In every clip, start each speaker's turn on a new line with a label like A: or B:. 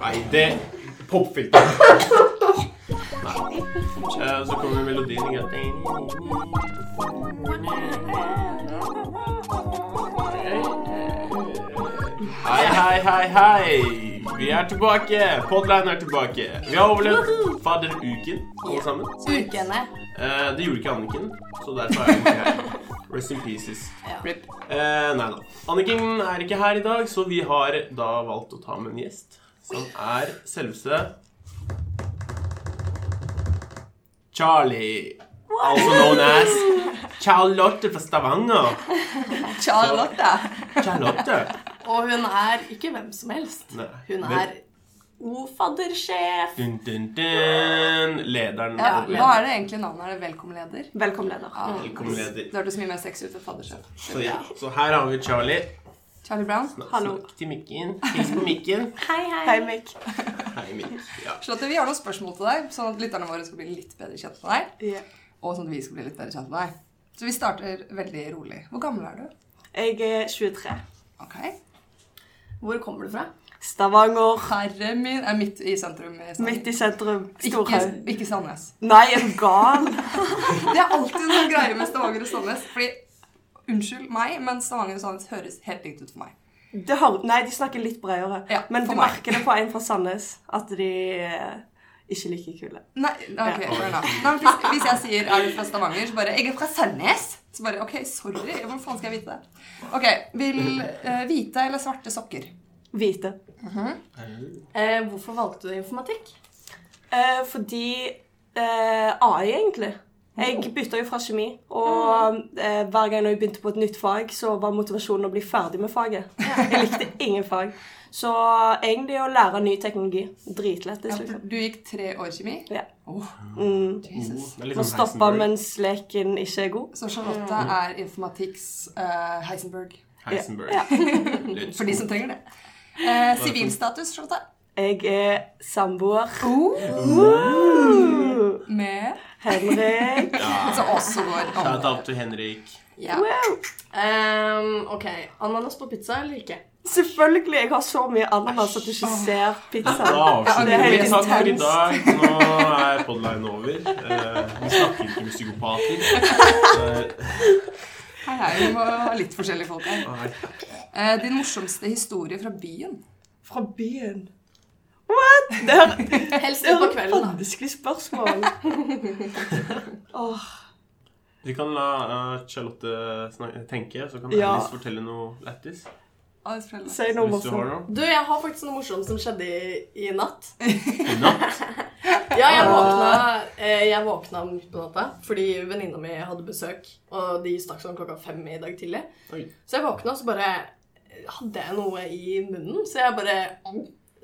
A: Nei, det Popfilter. Nei. Eh, Så kommer melodien igjen. Hei, hei, hei, hei. Vi er tilbake. Podline er tilbake. Vi har overlevd fadderuken, alle sammen.
B: Ukene.
A: Eh, det gjorde ikke Anniken, så derfor er hun ikke her. Rest in pieces.
B: Ja.
A: Rip. Eh, nei da. Anniken er ikke her i dag, så vi har da valgt å ta med en gjest. Som er selveste Charlie. Also known as Charlotte fra Stavanger.
B: Charlotte.
A: Charlotte.
B: Og hun er ikke hvem som helst.
A: Nei.
B: Hun
A: men-
B: er ofaddersjef.
A: dun, dun, dun, Lederen
C: Ja,
A: og
C: hva er det egentlig navnet? Er det velkommenleder?
B: Velkommen, leder.
C: Ja,
A: Velkommen, leder.
C: Det hørtes mye mer sexy ut enn faddersjef.
A: Så, ja. så her har vi Charlie.
C: Charlie Brown.
B: Hallo.
A: Snakk til mikken. Hils på mikken.
B: Hei, hei. Hei, Mick.
A: Hei, Mikk. Ja.
C: Charlotte, vi har noen spørsmål til deg, sånn at lytterne våre skal bli litt bedre kjent med deg. Og sånn at vi skal bli litt bedre kjent med deg. Så vi starter veldig rolig. Hvor gammel er du?
D: Jeg er 23.
C: Ok.
B: Hvor kommer du fra?
D: Stavanger.
C: Herre min er midt i sentrum. i Stavanger.
D: Midt i sentrum.
C: ikke,
D: Storhaug.
C: ikke Sandnes.
D: Nei, er du gal?
C: Det er alltid noen greier med Stavanger og Sandnes. Fordi, unnskyld meg, men Stavanger og Sandnes høres helt likt ut for meg.
D: Det har, nei, de snakker litt bredere.
C: Ja,
D: Men
C: for
D: du
C: meg.
D: merker det på en fra Sandnes at de eh, ikke er like kule.
C: Nei, ok, fair enough. Nei, men hvis, hvis jeg sier 'er du fra Stavanger', så bare 'jeg er fra Sandnes'. Så bare OK, sorry. Hvordan faen skal jeg vite det? Ok, Vil eh, hvite eller svarte sokker?
D: Hvite.
B: Eh, hvorfor valgte du informatikk?
D: Eh, fordi eh, AI, egentlig. Jeg
B: Mm.
D: bytta jo fra kjemi, og eh, hver gang jeg begynte på et nytt fag, så var motivasjonen å bli ferdig med faget. Jeg likte ingen fag. Så egentlig å lære ny teknologi. Dritlett.
C: Ja,
D: Det
C: for
D: slutter.
C: du gikk tre år kjemi.
D: Ja.
C: Åh,
D: Mm.
C: Jesus.
A: Det er litt
D: Må
A: sånn
D: stoppe
A: Heisenberg.
D: mens leken ikke er god.
C: Så Charlotte er informatikks eh, Heisenberg.
A: Heisenberg. Litt
C: For de som trenger det. Eh, Sivilstatus, Charlotte?
D: Jeg er samboer
C: Med
D: Henrik.
C: Som også går
A: Shout
C: andre.
A: out til Henrik.
C: Ja.
D: Wow.
B: Ehm, ok, Ananas på pizza eller ikke?
D: Selvfølgelig. Jeg har så mye ananas at du ikke ser
A: Da
D: pizzaen.
A: avslutter
D: det er
A: vi
D: helt
A: takk for i dag. Nå er podline over. Eh, vi snakker ikke med psykopater. Eh,
C: Hei, hei. Vi må ha litt forskjellige folk her.
A: nei.
C: Eh, din morsomste historie fra byen?
D: Fra byen. What? Det er,
B: Helst
D: det
B: litt
D: er
B: på
D: et
B: kvelden, da.
D: vanskelig spørsmål. Åh,
A: Vi kan la eh, Charlotte snak- tenke, så kan
D: Ja.
A: Alice fortelle noe lættis.
C: Ah, det er foreldre.
D: si noe
A: Hvis du har
D: morsomt.
A: noe.
B: Du, jeg har faktisk noe morsomt som skjedde i, i natt.
A: I natt.
B: Ja, jeg våkna, eh, jeg våkna midt på natta fordi venninna mi hadde besøk. Og de stakk sånn klokka fem i dag tidlig.
A: Oi.
B: Så jeg våkna, og så bare hadde jeg noe i munnen. Så jeg bare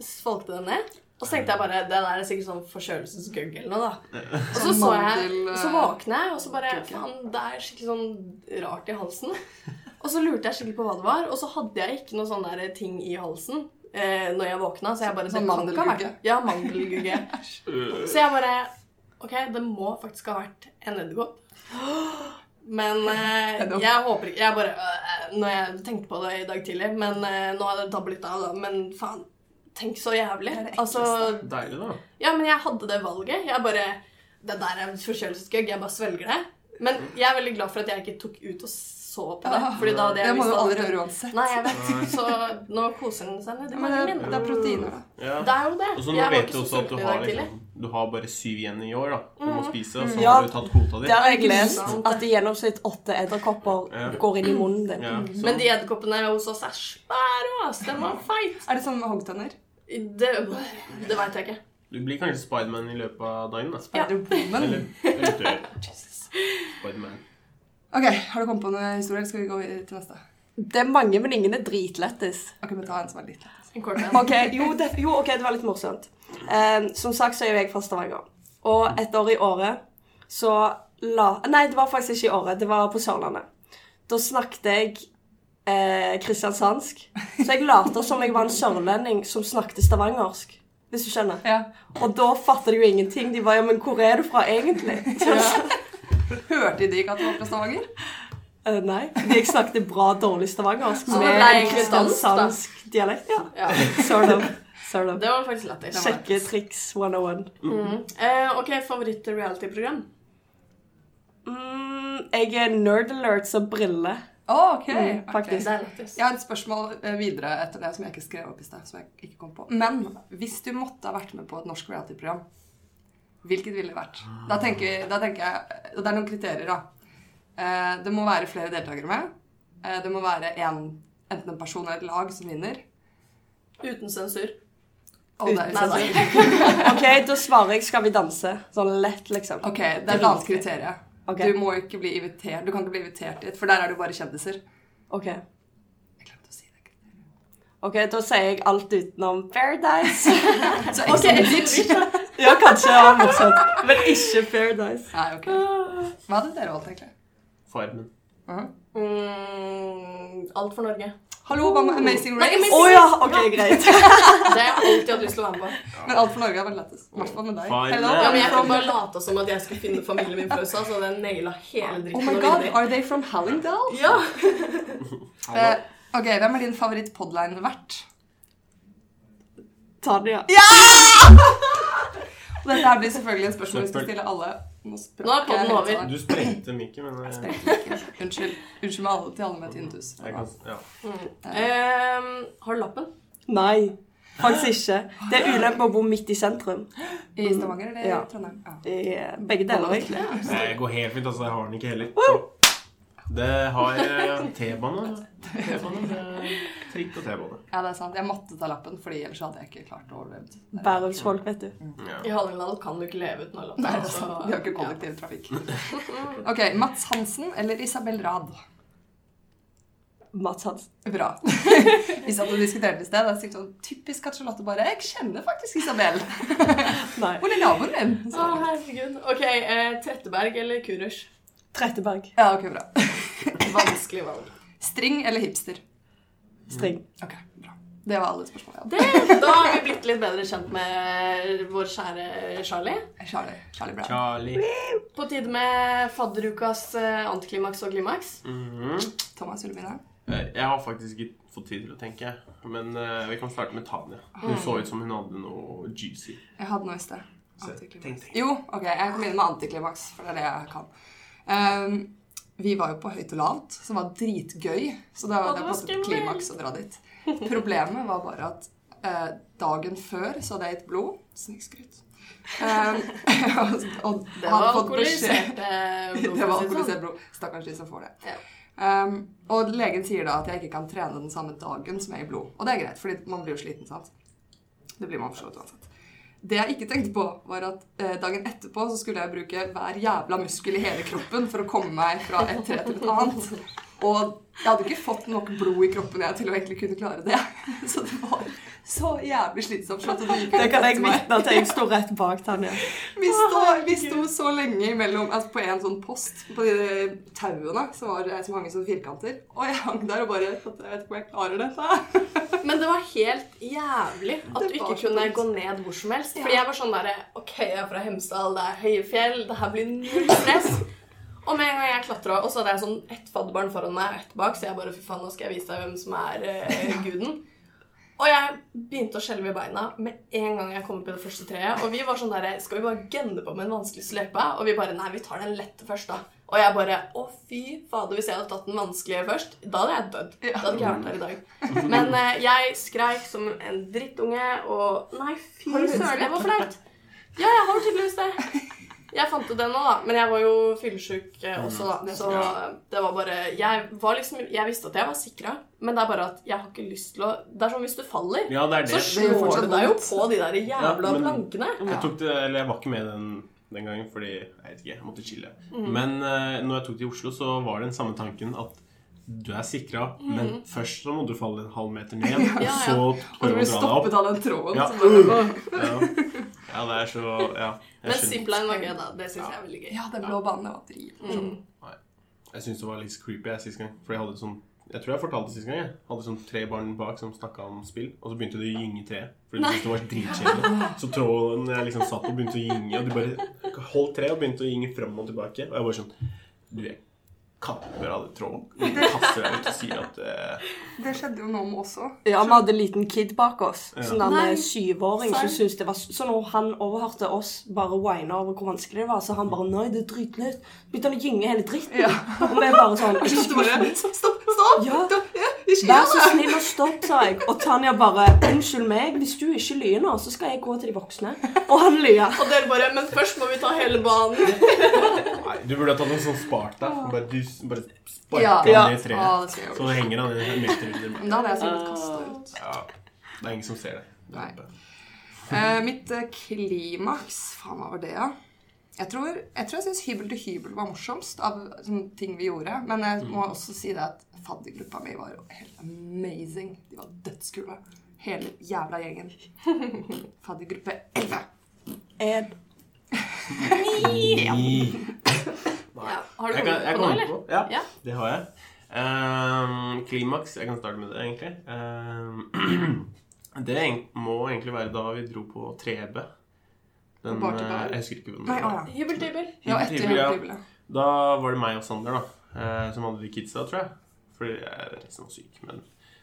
B: svalgte den ned. Og så tenkte jeg bare det der er sikkert sånn forkjølelsesgugg eller noe. da. Og så, så, jeg,
C: mandel, eh,
B: så våkna jeg, og så bare
C: gugg, ja.
B: Faen, det er skikkelig sånn rart i halsen. Og så lurte jeg skikkelig på hva det var, og så hadde jeg ikke noe sånn der ting i halsen. Eh, når jeg våkna, så jeg bare
C: Sånn
B: det kan ikke ha vært-
C: mandelgugge?
B: Ja, mandelgugge.
A: Eh,
B: Så jeg bare Ok, det må faktisk ha vært en edderkopp. Men eh,
C: Edderkopp.
B: jeg håper ikke Jeg bare øh, Når jeg tenkte på det i dag tidlig Men eh, nå har det dabba litt av, da. Men faen. Tenk så jævlig.
C: Det er det
B: Altså
A: Deilig, da.
B: Ja, men jeg hadde det valget. Jeg bare Det der er forkjølelsesgøgg. Jeg bare svelger det. Men jeg er veldig glad for at jeg ikke tok ut og så på det. Fordi da hadde jeg
C: Det må
B: visst
C: du
B: at-
C: aldri gjøre uansett.
B: Nei, jeg vet. Så nå koser den seg nedi
C: Men det,
B: magen
C: det
B: min.
C: er proteiner, da.
A: Ja.
B: Det er jo det.
A: Og så nå
B: Jeg var
A: vet du
B: ikke
A: også
B: så
A: at du
B: sulten i
A: har,
B: dag tidlig. Mm.
A: liksom, du har bare syv igjen i år, da. Du må spise, så
D: Mm. Ja.
A: har du tatt kvota di.
D: Der har jeg
B: Ikke
D: lest
B: sant,
D: at i gjennomsnitt åtte edderkopper
A: Ja.
D: går inn i munnen din.
A: Ja, så-
B: Mm. Men de edderkoppene hos oss er svære, ass. Den var feit.
C: Er det sånn med hoggtenner?
B: Det, det veit jeg ikke.
A: Du blir kanskje Spiderman i løpet av dagen. da.
B: Ja.
C: Spider-Woman?
A: Eller, eller dør. Spiderman.
C: Ok, har du kommet på noen historier, eller skal vi gå videre til neste?
D: Det er mange, men ingen er dritlettis.
C: Ok, vi tar en som er litt lett.
B: En kort en.
D: Ok, jo, det, jo, ok, det var litt morsomt. Ehm, som sagt så er jo jeg fra Stavanger. Og et år i året så la Nei, det var faktisk ikke i året. Det var på Sørlandet. Da snakket jeg eh, kristiansandsk. Så jeg lot som jeg var en sørlending som snakket stavangersk. Hvis du skjønner.
C: Ja.
D: Og da fatter de jo ingenting. De bare Ja, men hvor er du fra egentlig?
C: Hørte de ikke at det var fra Stavanger?
D: Eh, nei. Fordi jeg snakket bra dårlig stavangersk
B: Så det
D: med
B: ble
D: en
B: egentlig dans, da.
D: kristiansansk dialekt. Ja.
B: Ja,
D: Sort of. Sort of.
B: det var faktisk lættis.
D: Sjekke triks 101.
B: Mm. Eh, ok, favoritt-reality-program?
D: Mm, jeg er nerd alert som brille.
C: Å, ok.
D: Mm,
C: ok.
D: faktisk.
B: Det er lættis.
C: Jeg har et spørsmål eh, videre etter det som jeg ikke skrev opp i sted. som jeg ikke kom på. Men hvis du måtte ha vært med på et norsk reality-program, hvilket ville det vært? Da tenker, da tenker jeg, eh, og Det er noen kriterier, da. Eh, Det må være flere deltakere med. Eh, Det må være en, enten en person eller et lag som vinner.
B: Uten sensur.
C: Og det er
B: Nei, nei.
D: OK, da svarer jeg 'Skal vi danse'. Sånn lett, liksom.
C: Ok, det er et annet kriterium.
D: Ok.
C: Du må ikke bli invitert. Du kan ikke bli invitert dit, for der er det jo bare kjendiser.
D: OK,
C: Jeg glemte å si det.
D: Ok, da sier jeg alt utenom Paradise.
C: Så Ex on the Beach.
D: ja, kanskje det var motsatt. Men ikke Paradise.
C: Nei, ok. Hva hadde dere valgt, egentlig?
A: Farmen.
B: Mm, alt for Norge.
C: Hallo, hva med Amazing
B: Nei,
C: Race?
B: Amazing-
D: Å ja, OK, greit.
B: Det har jeg alltid hatt lyst til å være med på.
C: Men alt for Norge er veldig lettest. I hvert fall med deg.
A: Fine.
C: Hello,
A: Ja,
B: Ja, men
C: I'm
B: jeg kan
C: from...
B: bare late som at jeg skulle finne familien min fra USA, så den naila hele
C: Oh
B: dritten.
C: my
B: og
C: god,
B: vinner.
C: are they from Hallingdal?
B: Ja!
C: Eh, ok, hvem er din favoritt-podline vert?
D: Tanja.
C: Og Dette her blir selvfølgelig et spørsmål vi skal
A: Søppel.
C: stille alle. Nå, sprakk
B: Nå er podden
C: jeg helt
B: over.
C: sånn.
A: Du sprengte mikken, men jeg,
C: Unnskyld. Unnskyld med alle til alle med tinnitus.
A: jeg kan ja.
B: Ehm, har du lappen?
D: Nei, faktisk ikke. Det er ulempe å bo midt i sentrum.
C: I Stavanger eller i
D: Ja.
C: Trondheim? Ja.
D: I eh, begge deler, egentlig.
A: Nei, Det går helt fint, altså. Jeg har den ikke heller. Så. Det har eh, T-bane. T-bane, det er Trikk og T-bane.
C: ja, det er sant. Jeg måtte ta lappen, fordi ellers hadde jeg ikke klart å overleve.
D: Bærumsfolk, vet du.
A: Ja.
B: I Hallingdal kan du ikke leve uten å ha lappen. altså.
C: Nei, det er
B: så-
C: sant. Vi har ikke kollektivtrafikk. Ok, Mats Hansen eller Isabel Rad?
D: Mats Hansen.
C: Bra. Vi satt og diskuterte i sted. Det er sikkert sånn typisk at Charlotte bare Jeg kjenner faktisk Isabel.
D: Nei.
C: Hun er naboen min.
B: Å, herregud. Ok, eh, Tretteberg eller Kurers?
D: Tretteberg.
C: Ja, ok, bra.
B: Vanskelig valg.
C: String eller hipster?
D: String.
B: Mm.
C: Ok, bra. Det var alle spørsmål jeg hadde.
B: Det, da har vi blitt litt bedre kjent med vår kjære Charlie.
C: Charlie, Charlie Brown.
A: Charlie.
B: På tide med fadderukas eh, antiklimaks og klimaks.
A: Mhm.
C: Thomas vil du begynne?
A: Eh, Jeg har faktisk ikke fått tid til å tenke, men eh, vi kan starte med Tanja. Hun så ut som hun hadde noe juicy.
C: Jeg hadde noe i sted.
A: Så, tenk,
C: Antiklimaks.
A: tenk.
C: Jo, ok, jeg kan begynne med antiklimaks, for det er det jeg kan. Ehm, vi var jo på høyt og lavt, som var dritgøy. Så det var,
B: Å, det
C: det
B: var
C: var et
B: skummelt.
C: klimaks å dra dit. Problemet var bare at eh, dagen før så hadde jeg gitt blod. Snikskryt. Ehm, og, og
B: Det
C: hadde
B: var
C: fått beskjed-
B: alkoholisert. eh, blod,
C: det
B: for å si det
C: var
B: sånn.
C: alkoholisert blod. Stakkars de som får det.
B: Ja.
C: Ehm, og legen sier da at jeg ikke kan trene den samme dagen som jeg gir blod. Og det er greit, fordi man blir jo sliten, sant? Det blir man for så vidt uansett. Det jeg ikke tenkte på, var at eh, dagen etterpå så skulle jeg bruke hver jævla muskel i hele kroppen for å komme meg fra et tre til et annet. Og jeg hadde ikke fått nok blod i kroppen jeg til å egentlig kunne klare det. Så det var så jævlig slitsomt. Charlotte, du gikk
D: Det kan jeg
C: etter meg.
D: vitne til. Jeg sto rett bak Tanja.
C: Vi sto, vi sto så lenge imellom altså på en sånn post på de der tauene som, var, eh, som hang i sånne firkanter. Og jeg hang der og bare Jeg vet ikke om jeg klarer dette.
B: Men det var helt jævlig at du
C: Det var
B: ikke
C: så
B: kunne
C: vondt.
B: gå ned hvor som helst. Fordi
C: Ja.
B: jeg var sånn derre OK, jeg er fra Hemsedal, det er høye fjell, det her blir null stress. Og med en gang jeg klatra, og så hadde jeg sånn ett fadderbarn foran meg og ett bak, så jeg bare fy faen, nå skal jeg vise deg hvem som er eh, guden. Og jeg begynte å skjelve i beina med en gang jeg kom opp i det første treet. Og vi var sånn derre Skal vi bare gønne på med en vanskelig løype? Og vi bare Nei, vi tar den lette først, da. Og jeg bare Å, fy fader, hvis jeg hadde tatt den vanskelige først, da hadde jeg dødd. Da hadde ikke jeg vært her i dag. Men eh, jeg skreik som en drittunge, og Nei, fy søren, det var flaut. Ja, jeg har tydeligvis det. Jeg fant ut det nå, da. Men jeg var jo fyllesyk eh, også, da. Så det var bare Jeg var liksom Jeg visste at jeg var sikra, men det er bare at jeg har ikke lyst til å Det er som hvis du faller.
A: Ja, det er
B: Så
A: det.
C: Det
B: slår
C: gjør fortsatt
B: du deg jo
C: vondt.
B: på de der jævla
A: Ja, men-
B: plankene.
A: Jeg tok det, eller jeg var ikke med den, den gangen, fordi jeg vet ikke, jeg måtte chille.
C: Mhm.
A: Men eh, når jeg tok det i Oslo, så var den samme tanken at du er sikra, men først så må du falle en halv meter ned, og
B: ja.
A: så
C: Mhm. Og du
A: prøve å dra
C: blir
A: deg opp.
C: stoppet av den tråden.
A: Ja.
C: som bare-
A: Ja. ja, det er så Ja. Jeg,
B: Men
A: skjønner.
B: zipline var gøy, da. Det syns jeg er veldig gøy.
C: Ja, den blå banen det var dritmorsom.
A: jeg syns det var litt creepy jeg, sist gang, for jeg hadde sånn Jeg tror jeg fortalte det sist gang. Jeg hadde sånn tre barn bak som snakka om spill, og så begynte de å gynge i treet. Fordi de syntes det var dritkjedelig. Så tråden jeg liksom satt på, begynte å gynge, og de bare holdt treet og begynte å gynge fram og tilbake. Og jeg bare sånn Du, jeg kapper av det tråden. Jeg kaster deg ut og sier at eh,
C: Det skjedde jo nå med oss også.
D: Ja, vi hadde en liten kid bak oss.
A: Ja.
D: Sånn en
B: Nei.
D: syvåring som
B: Serr?
D: syntes det var s- Så når han overhørte oss bare whine over hvor vanskelig det var, så han bare Nei, det er dritløst. Begynte han å gynge hele dritten. Og vi bare sånn
C: Jeg skjønte bare,
D: «Ikke-
C: Stopp, stopp! stopp.
D: Ja.
C: Da- ja, Ikke
D: Vær
C: gjør
D: så
C: det!
D: snill og stopp, sa jeg. Og Tanja bare Unnskyld meg, hvis du ikke lyver nå, så skal jeg gå til de voksne. Og han lya.
B: Og dere bare Men først må vi ta hele banen.
A: Nei, du burde ha tatt en sånn Sparta. og Bare, du s- bare sparka
C: Ja.
A: ja.
D: Ja.
A: ned i
C: Ja,
A: treet.
C: det skal jeg
A: Så
C: gjøre.
A: henger han en meter under meg.
C: Men da hadde jeg sikkert kasta ut.
A: Ja, det er ingen som ser det.
C: Nei. Eh, mitt eh, klimaks Faen, hva var det, ja? Jeg tror jeg, tror jeg syns hybel til hybel var morsomst av sånne ting vi gjorde. Men jeg må
B: Mm.
C: også si det at faddergruppa mi var jo helt amazing. De var dødskule. Hele jævla gjengen. Faddergruppe 11.
D: Ed.
A: Nei.
B: Ja. Har du
A: Jeg kan,
B: kommet
A: jeg
B: på noe,
A: kommer
B: eller?
A: på. Ja,
B: Ja.
A: det har jeg. Ehm, klimaks Jeg kan starte med det, egentlig. Ehm, det egent- må egentlig være da vi dro på 3B. Den,
C: På Barteberg?
A: eh, jeg husker ikke hva den
C: Nei, å
A: var.
C: ja.
B: Hybeltibel.
C: Ja, etter
A: Hybel, ja.
C: hybelet.
A: Da var det meg og Sander da eh, som hadde de kidsa, tror jeg. Fordi jeg er resten var syk. Men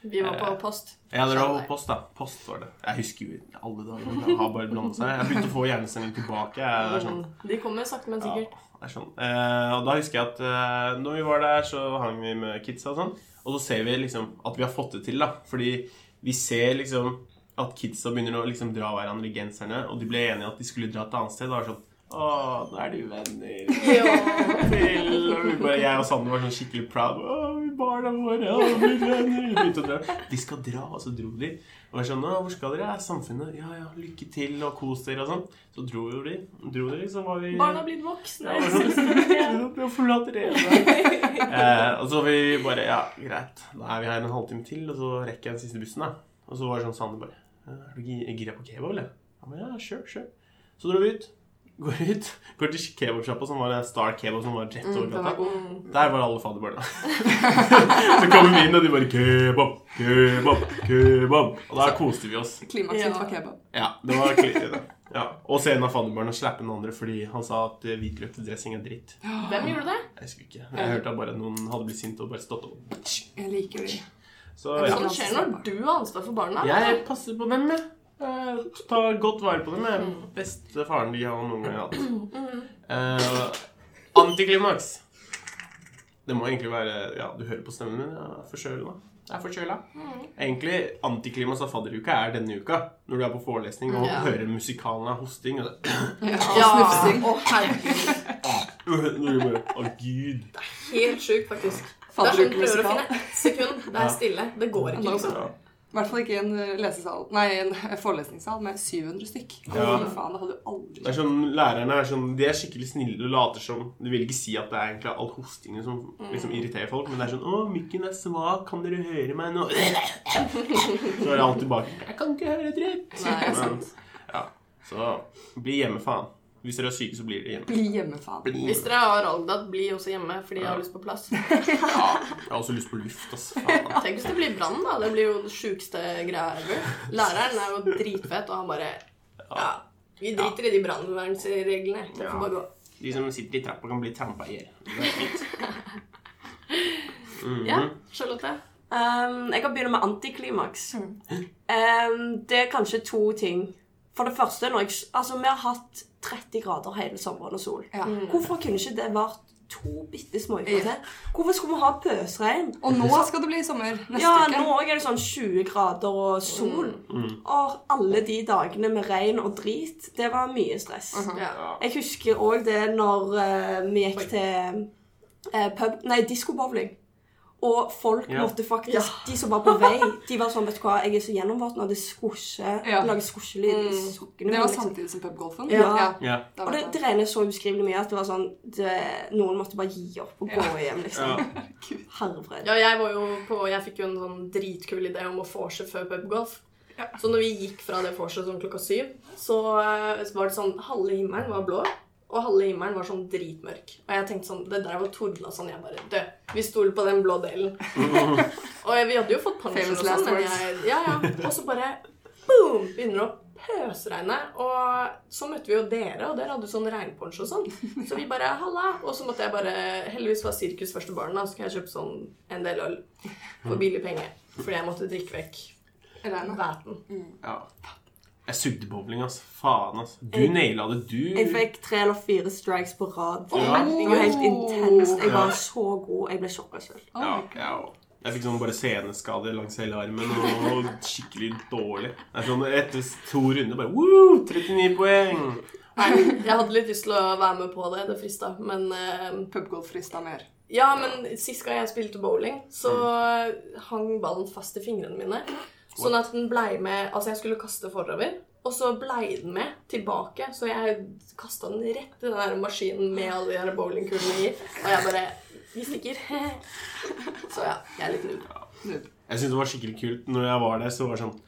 B: Vi var
A: Eh,
B: på post.
A: Ja, det var
B: Skjønner.
A: post, da. Post var det. Jeg husker jo alle dager. men Jeg har bare blandet seg. Jeg begynte å få hjernestemning tilbake. Jeg er sånn,
B: Mm. De kommer sakte, men sikkert.
A: ja, det er sånn. Eh, og da husker jeg at eh, når vi var der, så hang vi med kidsa og sånn. Og så ser vi liksom at vi har fått det til, da. Fordi vi ser liksom at kidsa begynner å liksom dra hverandre i genserne. Og de ble enige at de skulle dra et annet sted. Og da var det sånn Å, nå er de venner.
B: Ja.
A: Til, og vi bare, jeg og Sander var sånn skikkelig proud. Å, vi barna våre, å, vi venner. Vi begynte å dra. De skal dra, og så dro de. Og jeg sånn, «Å, hvor skal dere? Ja, Samfunnet. Ja, ja, lykke til, og kos dere, og sånn. Så dro jo de. Dro de, så var vi
B: Barna blir voksne.
A: Ja.
B: selvstendige.
A: Jeg forlater dere. Eh, og så vi bare Ja, greit. Da er vi her en halvtime til, og så rekker jeg den siste bussen. da. Og så var det sånn Sander bare «Eh, Er du gi- gira på kebab, eller? Ja, men ja, sure, sure. Så dro vi ut. Går ut. Går til kebabsjappa, som var en Star Kebab som var rett over
C: Mm, den var
A: gata.
C: god.
A: Der var alle fadderbarna. så kommer vi inn, og de bare Kebab, kebab, kebab. Og da koste vi oss.
C: Klimakset
B: Ja.
C: var kebab.
A: Ja, det var klitt, da. Ja. Og så en av fadderbarna slapp den andre fordi han sa at eh, hvitløksdressing er dritt.
B: Hvem gjorde det?
A: Jeg husker ikke. Eh, Jeg hørte at bare noen hadde blitt sint og bare stått opp.
C: Jeg liker de.
A: Så
C: Ja.
B: Sånt Sånn skjer når du har ansvar for barna.
A: ja. Jeg passer på dem, jeg. Eh, Tar godt vare på dem. Jeg. Beste faren de har noen gang hatt. Eh, antiklimaks. Det må egentlig være Ja, du hører på stemmen min. Jeg er forkjøla. Jeg er forkjøla. Egentlig antiklimaks av fadderuka er denne uka. Når du er på forelesning og
B: Ja.
A: hører musikalen av hosting. Og det,
B: Ja,
C: Snufsing.
B: Å, herregud.
A: Når du bare, Å, gud.
B: Helt sjukt, faktisk. Det er sånn, prøver å
C: Fadderukemusikal.
B: finne ett sekund. Det er stille. Det går ikke, liksom.
A: Ja.
C: I hvert fall ikke i en eh, lesesal Nei, i en eh, forelesningssal med 700 stykk.
A: Ja.
C: Fy faen, det hadde du aldri
A: Det er sånn, Lærerne er sånn, de er skikkelig snille og later som De vil ikke si at det er egentlig all hostingen som liksom irriterer folk, men det er sånn 'Å, mikken er svak. Kan dere høre meg nå?' Så er det alt tilbake. 'Jeg kan ikke høre dritt'.
B: Nei,
A: Men, ja, så bli hjemme, faen. Hvis dere er syke, så blir dere hjemme.
C: Bli hjemme, faen.
A: Bli
B: Hvis
A: hjemme.
B: dere har Algdad, bli også hjemme fordi jeg har lyst på plass.
A: Ja, jeg har også lyst på luft, ass. Faen.
B: Tenk hvis det blir brann, da. Det blir jo det sjukeste greia ever. Læreren er jo dritfett, og han bare Ja, vi driter i de brannvernsreglene. Det får bare gå.
A: De som sitter i trappa, kan bli trampa i hjel. Det er fint.
B: Ja, Charlotte.
D: Um, jeg kan begynne med antiklimaks. Um, det er kanskje to ting. For det første, når jeg, s- altså, vi har hatt 30 grader hele sommeren og sol.
C: Ja.
D: Hvorfor kunne ikke det vært to bitte små uker til? Hvorfor skulle vi ha pøsregn?
C: Og nå skal det bli sommer. Neste
D: Ja,
C: uke.
D: nå er det sånn 20 grader og sol. Og alle de dagene med regn og drit, det var mye stress.
B: Ja.
D: Jeg husker òg det når eh, vi gikk til eh, pub Nei, diskobowling. Og folk
A: Ja.
D: måtte faktisk De som var på vei, de var sånn Vet du hva, jeg er så gjennomvåt når det squosjer.
C: Ja.
D: Lager squosjelyd i
B: Mm.
D: sokkene
C: Det
D: mine,
C: var
D: liksom.
C: samtidig som pubgolfen?
D: Ja.
A: Ja.
C: da
D: Og
C: var
D: det, det regner så ubeskrivelig mye at det var sånn det, Noen måtte bare gi opp og gå hjem,
A: Ja.
D: liksom. Hervred.
B: Ja, jeg var jo på Jeg fikk jo en sånn dritkul idé om å vorse før pubgolf. Så når vi gikk fra det vorset sånn klokka syv, så, eh, så var det sånn Halve himmelen var blå, og halve himmelen var sånn dritmørk. Og jeg tenkte sånn Det der var tordla sånn. Jeg bare Død. Vi stoler på den blå delen. og jeg- vi hadde jo fått pensjon og
C: Famous last
B: sånn, men
C: words.
B: jeg Ja, ja. Og så bare boom! Begynner å pøsregne. Og så møtte vi jo dere, og dere hadde jo sånn regnponcho og sånn. Så vi bare halla. Og så måtte jeg bare Heldigvis var sirkus første barn, da, så kunne jeg kjøpe sånn en del øl for billig penge. Fordi jeg måtte drikke vekk
C: Regnet.
B: væten.
A: Ja. Jeg sugde bowling, altså. Faen, altså. Du
D: Jeg-
A: naila det, du.
D: Jeg fikk tre eller fire strikes på rad.
A: Ja.
D: Det var helt intenst. Jeg
A: Ja.
D: var så god. Jeg ble sjokka sjøl.
C: Oh
A: Ja,
C: my God.
A: ja. Jeg fikk sånn bare seneskader langs hele armen og skikkelig dårlig. Det er sånn Etter to runder bare Woo! 39 poeng!
B: Nei, jeg hadde litt lyst til å være med på det. Det frista. Men eh,
C: Pubgolf frista mer.
B: Ja, men sist gang jeg spilte bowling, så
A: Mm.
B: hang ballen fast i fingrene mine. Sånn at den blei med Altså, jeg skulle kaste forover, og så blei den med tilbake. Så jeg kasta den rett i den der maskinen med alle de der bowlingkulene i, og jeg bare Vi stikker. så ja, jeg er litt noob.
C: Noob.
A: Jeg synes det var skikkelig kult. Når jeg var der, så var det sånn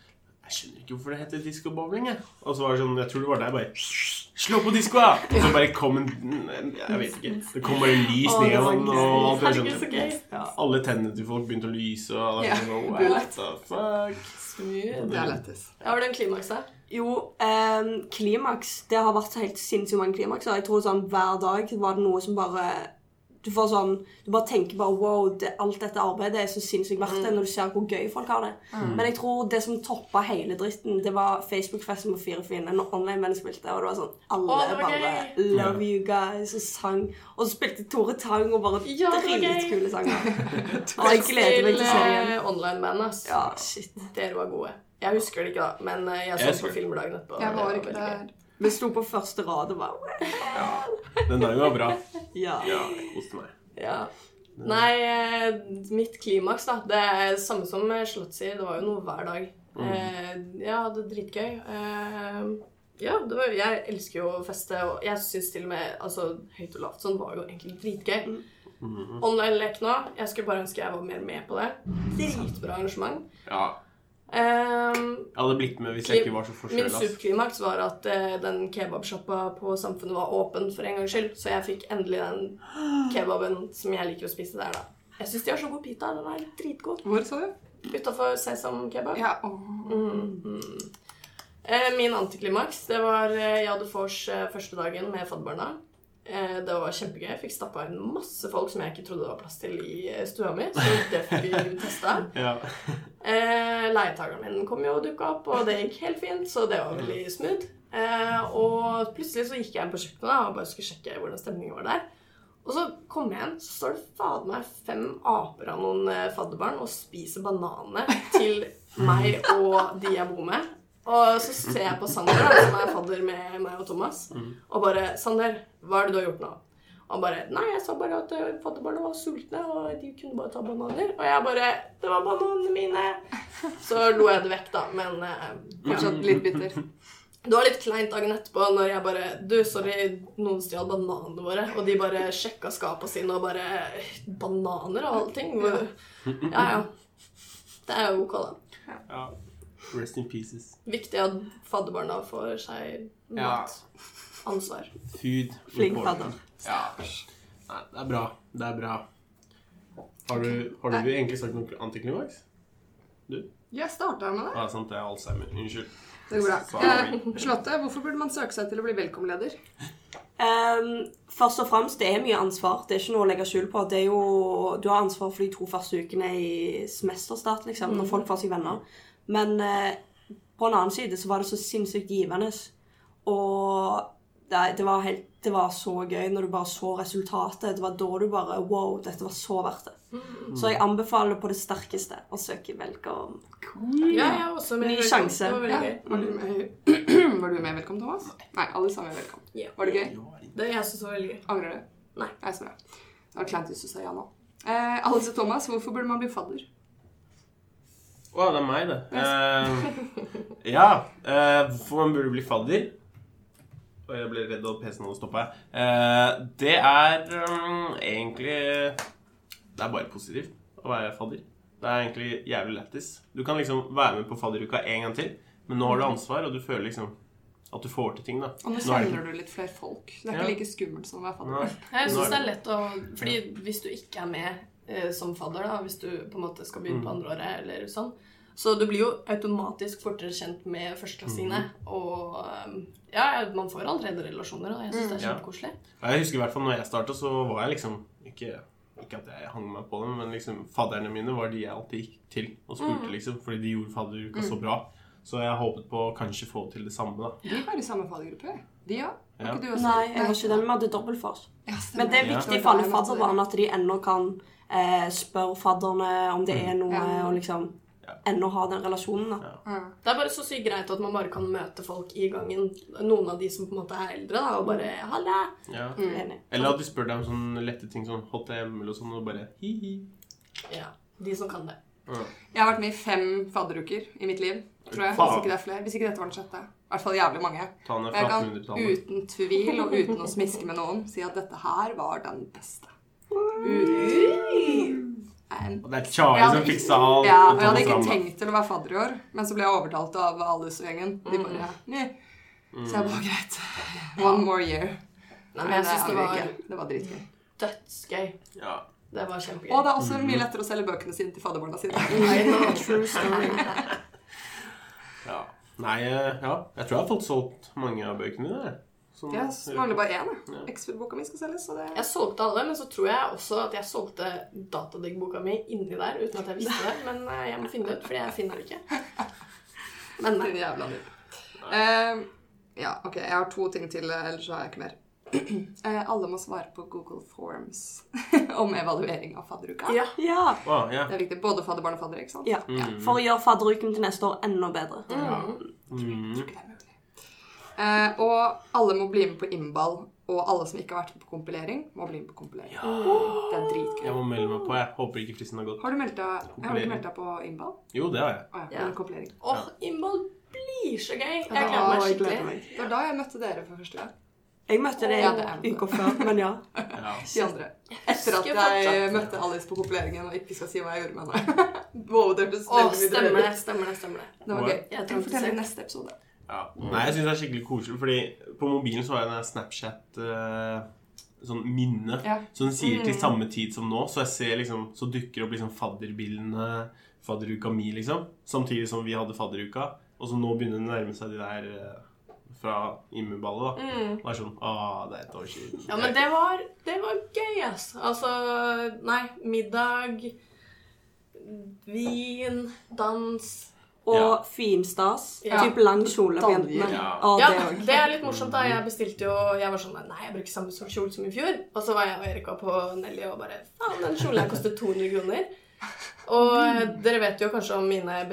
A: Jeg skjønner ikke hvorfor det heter diskobowling. jeg." Og så var det sånn Jeg tror det var der bare Slå på diskoa! Og så bare kom en Jeg vet ikke. Det kom bare lys
B: Å, det
A: ned
B: var
A: og alt det
B: Herregud,
A: der.
B: så gøy.
A: Ja, alle tennene til folk begynte å lyse, og det var sånn,
C: Ja,
A: what the fuck?
B: Smooth.
C: Det er lettis.
B: Ja, var det en klimaks der?
D: Jo, ehm, klimaks. Det har vært så helt sinnssykt mange klimakser. Jeg tror sånn hver dag var det noe som bare Du får sånn Du bare tenker bare wow, det, alt dette arbeidet er så sinnssykt verdt
B: Mm.
D: det når du ser hvor gøy folk har det. Men jeg tror det som toppa hele dritten, det var Facebook-festen med fire fine når online-menn spilte, og det var sånn Alle
B: Å, det var
D: bare Love you guys og sang. Og så spilte Tore Tang og bare
B: Ja, det var gøy.
D: dritkule sanger. og jeg gleder meg til serien.
B: Online-band, eh, ass.
D: Ja, shit.
B: Dere var gode. Jeg husker det ikke, da, men eh,
A: Jeg
B: jeg så
A: husker
B: på
A: det.
B: filmdagen etterpå.
C: Jeg
B: og det
C: var ikke
B: veldig gøy.
C: der.
D: Vi sto på første rad og bare
A: Den dagen var bra.
D: Ja.
A: Ja, jeg koste meg.
B: Ja. Nei, eh, mitt klimaks, da. Det er det samme som eh, Charlotte sier. Det var jo noe hver dag. Eh, jeg hadde det dritgøy. Eh, ja, det var, jeg elsker jo å feste, og jeg syns til og med altså, høyt og lavt sånn var jo egentlig dritgøy. Mm. Online-lek nå. Jeg skulle bare ønske jeg var mer med på det. Dritbra arrangement.
A: Ja,
B: Eh,
A: jeg hadde blitt med hvis jeg ikke var så
B: Min
A: forkjøla.
B: superklimaks var at eh, den kebabsjappa på Samfunnet var åpen for en gangs skyld, så jeg fikk endelig den kebaben som jeg liker å spise der, da. Jeg syns de har så god pita. Den er dritgod.
C: Hvor så du?
B: Utafor Sesam kebab.
C: Ja, åh.
B: Eh, min antiklimaks, det var eh, jeg hadde vors eh, første dagen med fadderbarna. Eh, det var kjempegøy. Jeg fikk stappa inn masse folk som jeg ikke trodde det var plass til i eh, stua mi, så det fikk vi testa.
A: Ja.
B: Eh, Leietakeren min kom jo og dukka opp, og det gikk helt fint, så det var veldig smooth. Eh, og plutselig så gikk jeg inn på kjøkkenet da, og bare skulle sjekke hvordan stemningen var der. Og så kommer jeg inn, så står det fader meg fem aper av noen eh, fadderbarn og spiser bananene til meg og de jeg bor med. Og så ser jeg på Sander, da, som er fadder med meg og Thomas, og bare 'Sander, hva er det du har gjort nå?' Og han bare 'Nei, jeg sa bare at eh, fadderbarna var sultne, og de kunne bare ta bananer.' Og jeg bare 'Det var bananene mine!' Så lo jeg det vekk, da. Men eh, ja.
C: Fortsatt litt bitter.
B: Det var litt kleint dagen etterpå når jeg bare Du, sorry, noen stjal bananene våre. Og de bare sjekka skapene sine og bare Bananer og allting. Ja, ja. Det er jo ok, da.
A: ja. Rest in pieces.
B: Viktig at fadderbarna får seg
A: Ja.
B: mat. Ansvar.
A: Food.
D: Flink
A: important.
D: fadder.
A: Ja. Nei, det er bra. Det er bra. Har du, har du egentlig sagt noe antiklimaks?
C: Jeg starta med det.
A: Ja, sant, det er Alzheimer. Unnskyld.
C: Det går bra.
A: Sorry.
C: Eh, Charlotte, hvorfor burde man søke seg til å bli velkomleder?
D: Ehm, først og fremst, det er mye ansvar. Det er ikke noe å legge skjul på. Det er jo, du har ansvar for de to første ukene i semesterstart, liksom, når folk får seg venner. Men eh, på en annen side så var det så sinnssykt givende. Og det, det, var helt, det var så gøy når du bare så resultatet. Det var da du bare Wow, dette var så verdt det. Så jeg anbefaler på det sterkeste å søke velkommen.
B: Ja, jeg er også med.
D: Ny sjanse.
B: Det var
C: Ja.
B: veldig gøy.
C: Var du med, var du med i Velkommen, Thomas? Nei, alle sammen er velkommen.
B: Ja.
C: Var det gøy?
B: Det jeg synes det var veldig gøy.
C: Angrer du?
B: Nei.
C: Nei, så bra. Det var kleint hvis du sa ja nå. Eh, Alice og Thomas, hvorfor burde man bli fadder?
A: Å, det er meg, det. Eh, ja. eh, hvorfor man burde bli fadder? Og jeg ble redd og PC-en hadde stoppa. Uh, det er um, egentlig Det er bare positivt å være fadder. Det er egentlig jævlig lættis. Du kan liksom være med på fadderuka en gang til, men nå har du ansvar, og du føler liksom at du får til ting, da.
C: Og
A: er
C: nå
A: det
C: kjenner du litt flere folk. Det er
A: Ja.
C: ikke like skummelt som å være fadder.
A: Nei.
B: Jeg
A: Nå er
B: synes det
A: det-
B: er lett å Fordi hvis du ikke er med eh, som fadder, da, hvis du på en måte skal begynne
A: Mm.
B: på andreåret eller sånn. Så du blir jo automatisk fortere kjent
A: Mm.
B: med førsteklassingene. Og eh, ja, man får allerede relasjoner, og jeg syns det er
A: Ja.
B: kjempekoselig.
A: Jeg husker i hvert fall når jeg startet, så var jeg liksom ikke, ikke at jeg hang meg på dem, men liksom fadderne mine var de jeg alltid gikk til og
C: Mm.
A: spurte, liksom. Fordi de gjorde fadderuka så bra. Så jeg håpet på å kanskje få til det samme, da.
C: Vi var i samme faddergruppe, vi òg.
A: Ja.
C: Var ikke du også?
D: Nei, jeg var ikke den. Vi hadde dobbeltfar.
C: Ja, stemmer.
D: Men det er
A: Ja.
D: viktig for alle fadderbarn at de ennå kan eh, spørre fadderne om det er noe,
C: Ja.
D: og liksom ennå ha den relasjonen. da.
B: Det er bare så sykt greit at man bare kan møte folk i gangen. Noen av de som på en måte er eldre, da, og bare 'halla'.
A: Ja.
D: Enig.
A: Eller at de spør deg om sånne lette ting som HTML og sånn, og bare hi-hi.
B: Ja, de som kan det.
A: Ja.
C: Jeg har vært med i fem fadderuker i mitt liv, tror jeg. Hvis
A: Faen.
C: ikke det er flere. Hvis ikke dette var den sjette. I hvert fall jævlig mange.
A: Ta ned
C: Og jeg kan
A: 1800-tallet.
C: uten tvil og uten å smiske med noen si at dette her var den beste. Uten Nei,
A: Og det er Charlie
C: Jeg hadde
A: som
C: ikke-
A: fiksa alt.
C: Ja,
A: og
C: og jeg hadde
A: tok oss
C: ikke
A: fram, da.
C: tenkt til å være fadder i år, men så ble jeg overtalt av Alice og gjengen.
D: Mm.
C: De bare Nei. Så
A: Mm.
C: jeg bare greit. One more year. eh,
B: Nei, men jeg
C: det
B: syns det
C: angrer jeg
B: var
C: ikke. Det var dritgøy.
B: dødsgøy.
A: Ja.
B: Det var kjempegøy.
C: Og det er også mye lettere å selge bøkene sine til fadderbarna sine.
B: I know, true story.
A: ja. Nei, eh, ja. Jeg tror jeg har fått solgt mange av bøkene dine. Sånn,
C: Jeg mangler bare én. jeg.
A: Ja.
C: Ekstra-boka mi skal selges, så det
B: Jeg solgte alle, men så tror jeg også at jeg solgte datadiggboka mi inni der uten at jeg visste det. Men eh, jeg må finne det ut, fordi jeg finner det ikke. Men nei.
C: Din jævla nubb. Eh, ja, OK. Jeg har to ting til, eh, ellers så har jeg ikke mer. Eh, alle må svare på Google Forms om evaluering av fadderuka.
B: Ja.
D: Ja.
A: Å, ja.
C: Det er viktig. Både fadderbarn og fadder, ikke sant?
D: ja. For å gjøre fadderuken til neste år enda bedre.
A: Mm.
C: Det er mulig. Eh, og alle må bli med på innball. Og alle som ikke har vært med på kompilering, må bli med på kompilering. Det er
A: Jeg
C: dritgøy.
A: må melde meg på. Jeg håper ikke fristen har gått.
C: Har du meldt deg, jeg har du ikke meldt deg på innball?
A: Jo, det har jeg.
C: Å ja,
B: Ja.
C: men kompilering.
B: Åh, innhold blir så gøy. Jeg
C: Ja,
B: gleder meg
D: jeg gleder
B: skikkelig.
D: meg.
C: Det var da jeg møtte dere for første gang.
D: Jeg møtte
C: Ja, det er
D: deg
C: det.
D: uka før, men ja.
A: Ja.
C: De andre. Etter
B: husker
C: at jeg
B: fortsatt.
C: møtte Alice på kompileringen og ikke skal si hva jeg gjorde med henne. wow, det ble
B: Åh,
C: veldig
B: stemmer
C: mye
B: det,
C: drøyere.
B: stemmer det. stemmer det.
C: Det var gøy.
B: Jeg
C: Jeg
B: tenkte
C: forteller
B: selv.
C: i neste episode.
A: Ja. Nei, jeg syns det er skikkelig koselig, fordi på mobilen så har jeg den der Snapchat eh, Sånn minne.
C: Ja.
A: Så den sier til samme tid som nå, så jeg ser liksom Så dukker opp liksom fadderbildene, fadderuka mi, liksom. Samtidig som vi hadde fadderuka. Og så nå begynner det å nærme seg de der eh, fra Immuballet, da. Og det er sånn Å, det er et år siden.
B: Ja, men det var, det var gøy, ass. Altså, nei, middag, vin, dans.
D: Og
A: Ja.
D: finstas.
B: Ja.
D: Typ lang kjole på
C: Daljer.
D: jentene.
A: Ja.
D: Og
B: Ja,
D: det òg.
B: det er litt morsomt da. Jeg bestilte jo, jeg var sånn, nei, jeg bruker samme sort kjole som i fjor. Og så var jeg og Erika på Nelly og bare, faen, den kjolen her kostet 200 kroner. Og eh, dere vet jo kanskje om mine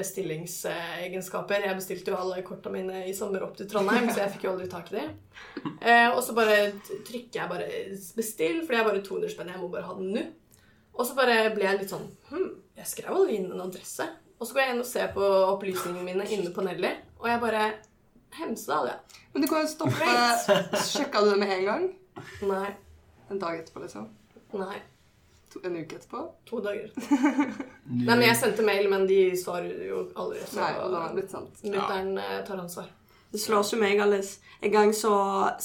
B: bestillingsegenskaper. Jeg bestilte jo alle korta mine i sommer opp til Trondheim, så jeg fikk jo aldri tak i de. Eh, og så bare t- trykker jeg bare 'bestill', for det er bare 200 spenn. Jeg må bare ha den nå. Og så bare ble jeg litt sånn Hm, jeg skrev aldri inn en adresse. Og så går jeg inn og ser på opplysningene mine inne på Nelly, og jeg bare Hemsedal, ja.
C: Men du kan jo stoppe Sjekka du det med en gang?
B: Nei.
C: En dag etterpå, liksom?
B: Nei.
C: To, en uke etterpå?
B: To dager. Nei, men jeg sendte mail, men de svarer jo aldri. Så
C: Nei, og da har det blitt sant.
B: mutter'n eh, tar ansvar.
D: Det slår ikke meg, Alice. En gang så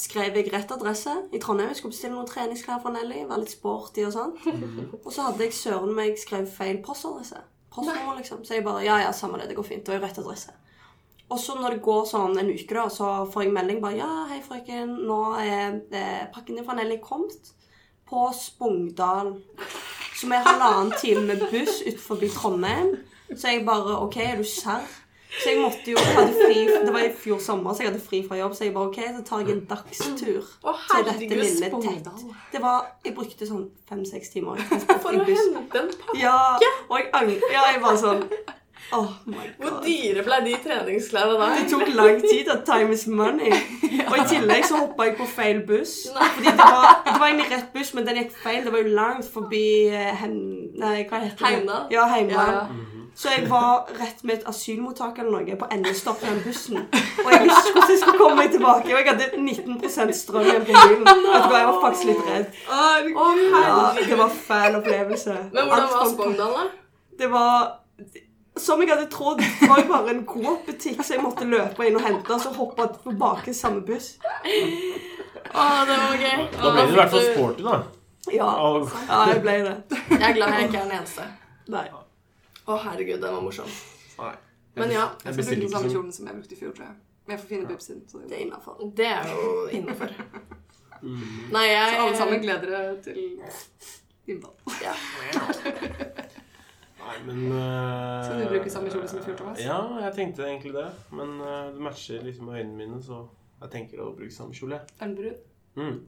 D: skrev jeg rett adresse i Trondheim. Jeg skulle bestille noen treningsklær fra Nelly. Var litt sporty og sånn. Og så hadde jeg søren meg skrevet feil postadresse. Postnummer, liksom. Så jeg bare Ja, ja, samme det. Det går fint. Det er jo rett adresse. Og så når det går sånn en uke, da, så får jeg melding bare Ja, hei, frøken. Nå er eh, pakken din fra Nelly kommet på Spongdal. Som er halvannen time med buss utenfor Trondheim. Så jeg bare OK, er du serr? Så jeg måtte jo jeg hadde fri, Det var i fjor sommer, så jeg hadde fri fra jobb. Så jeg bare OK, så tar jeg en dagstur
B: Å,
D: til dette
B: herregud,
D: lille tett.
C: Spongdal.
D: Det var, Jeg brukte sånn fem-seks timer. i
B: For å
D: transport i buss.
B: hente en pakke!
D: Ja, og jeg angrer. Ja, jeg var sånn Oh my
B: Hvor
D: god.
B: dyre ble de treningsklærne da?
D: Det tok lang tid. at Time is money. Og i tillegg så hoppa jeg på feil buss.
B: Nei.
D: Fordi det var, det var egentlig rett buss, men den gikk feil. Det var jo langt forbi eh, Hem... Nei, hva heter det?
B: Heimdal.
D: Ja, Heimdal.
B: Ja, ja.
D: Så jeg var rett med et asylmottak eller noe på endestopp i den bussen. Og jeg visste ikke hvordan jeg skulle komme meg tilbake. Og jeg hadde 19 strøm igjen på bilen. Vet du hva, jeg var faktisk litt redd.
B: Å,
D: Ja,
B: herregud.
D: det var fæl opplevelse.
B: Men hvordan
D: Alt
B: var
D: kom på-
B: Spongdal, da?
D: det var som jeg hadde trodd, det var jo bare en Coop-butikk, så jeg måtte løpe inn og hente, og så hoppe tilbake i samme buss.
B: Å, det var gøy.
A: Da ble det i hvert fall sporty, da.
D: Ja.
A: Og,
D: ja, jeg ble det.
B: Jeg er glad jeg ikke er den eneste.
D: Nei.
B: Å, herregud, den var morsom.
A: nei.
B: Men ja,
A: jeg
C: Jeg skal bruke
A: bestiller
C: den
A: ikke
C: samme
A: sånn.
C: kjolen som jeg brukte i fjor, tror jeg. Men jeg får fine bibs inn. Så
B: Det
C: det
B: er innafor. Det er jo innafor.
A: Mm.
B: Nei, jeg
C: Så alle sammen gleder dere til innball.
B: Ja.
A: Nei, men eh,
C: Skal du bruke samme kjole som i fjor, Thomas?
A: Ja, jeg tenkte egentlig det. Men eh, det matcher liksom øynene mine, så jeg tenker å bruke samme kjole. jeg.
C: Er den brun?
A: Mm.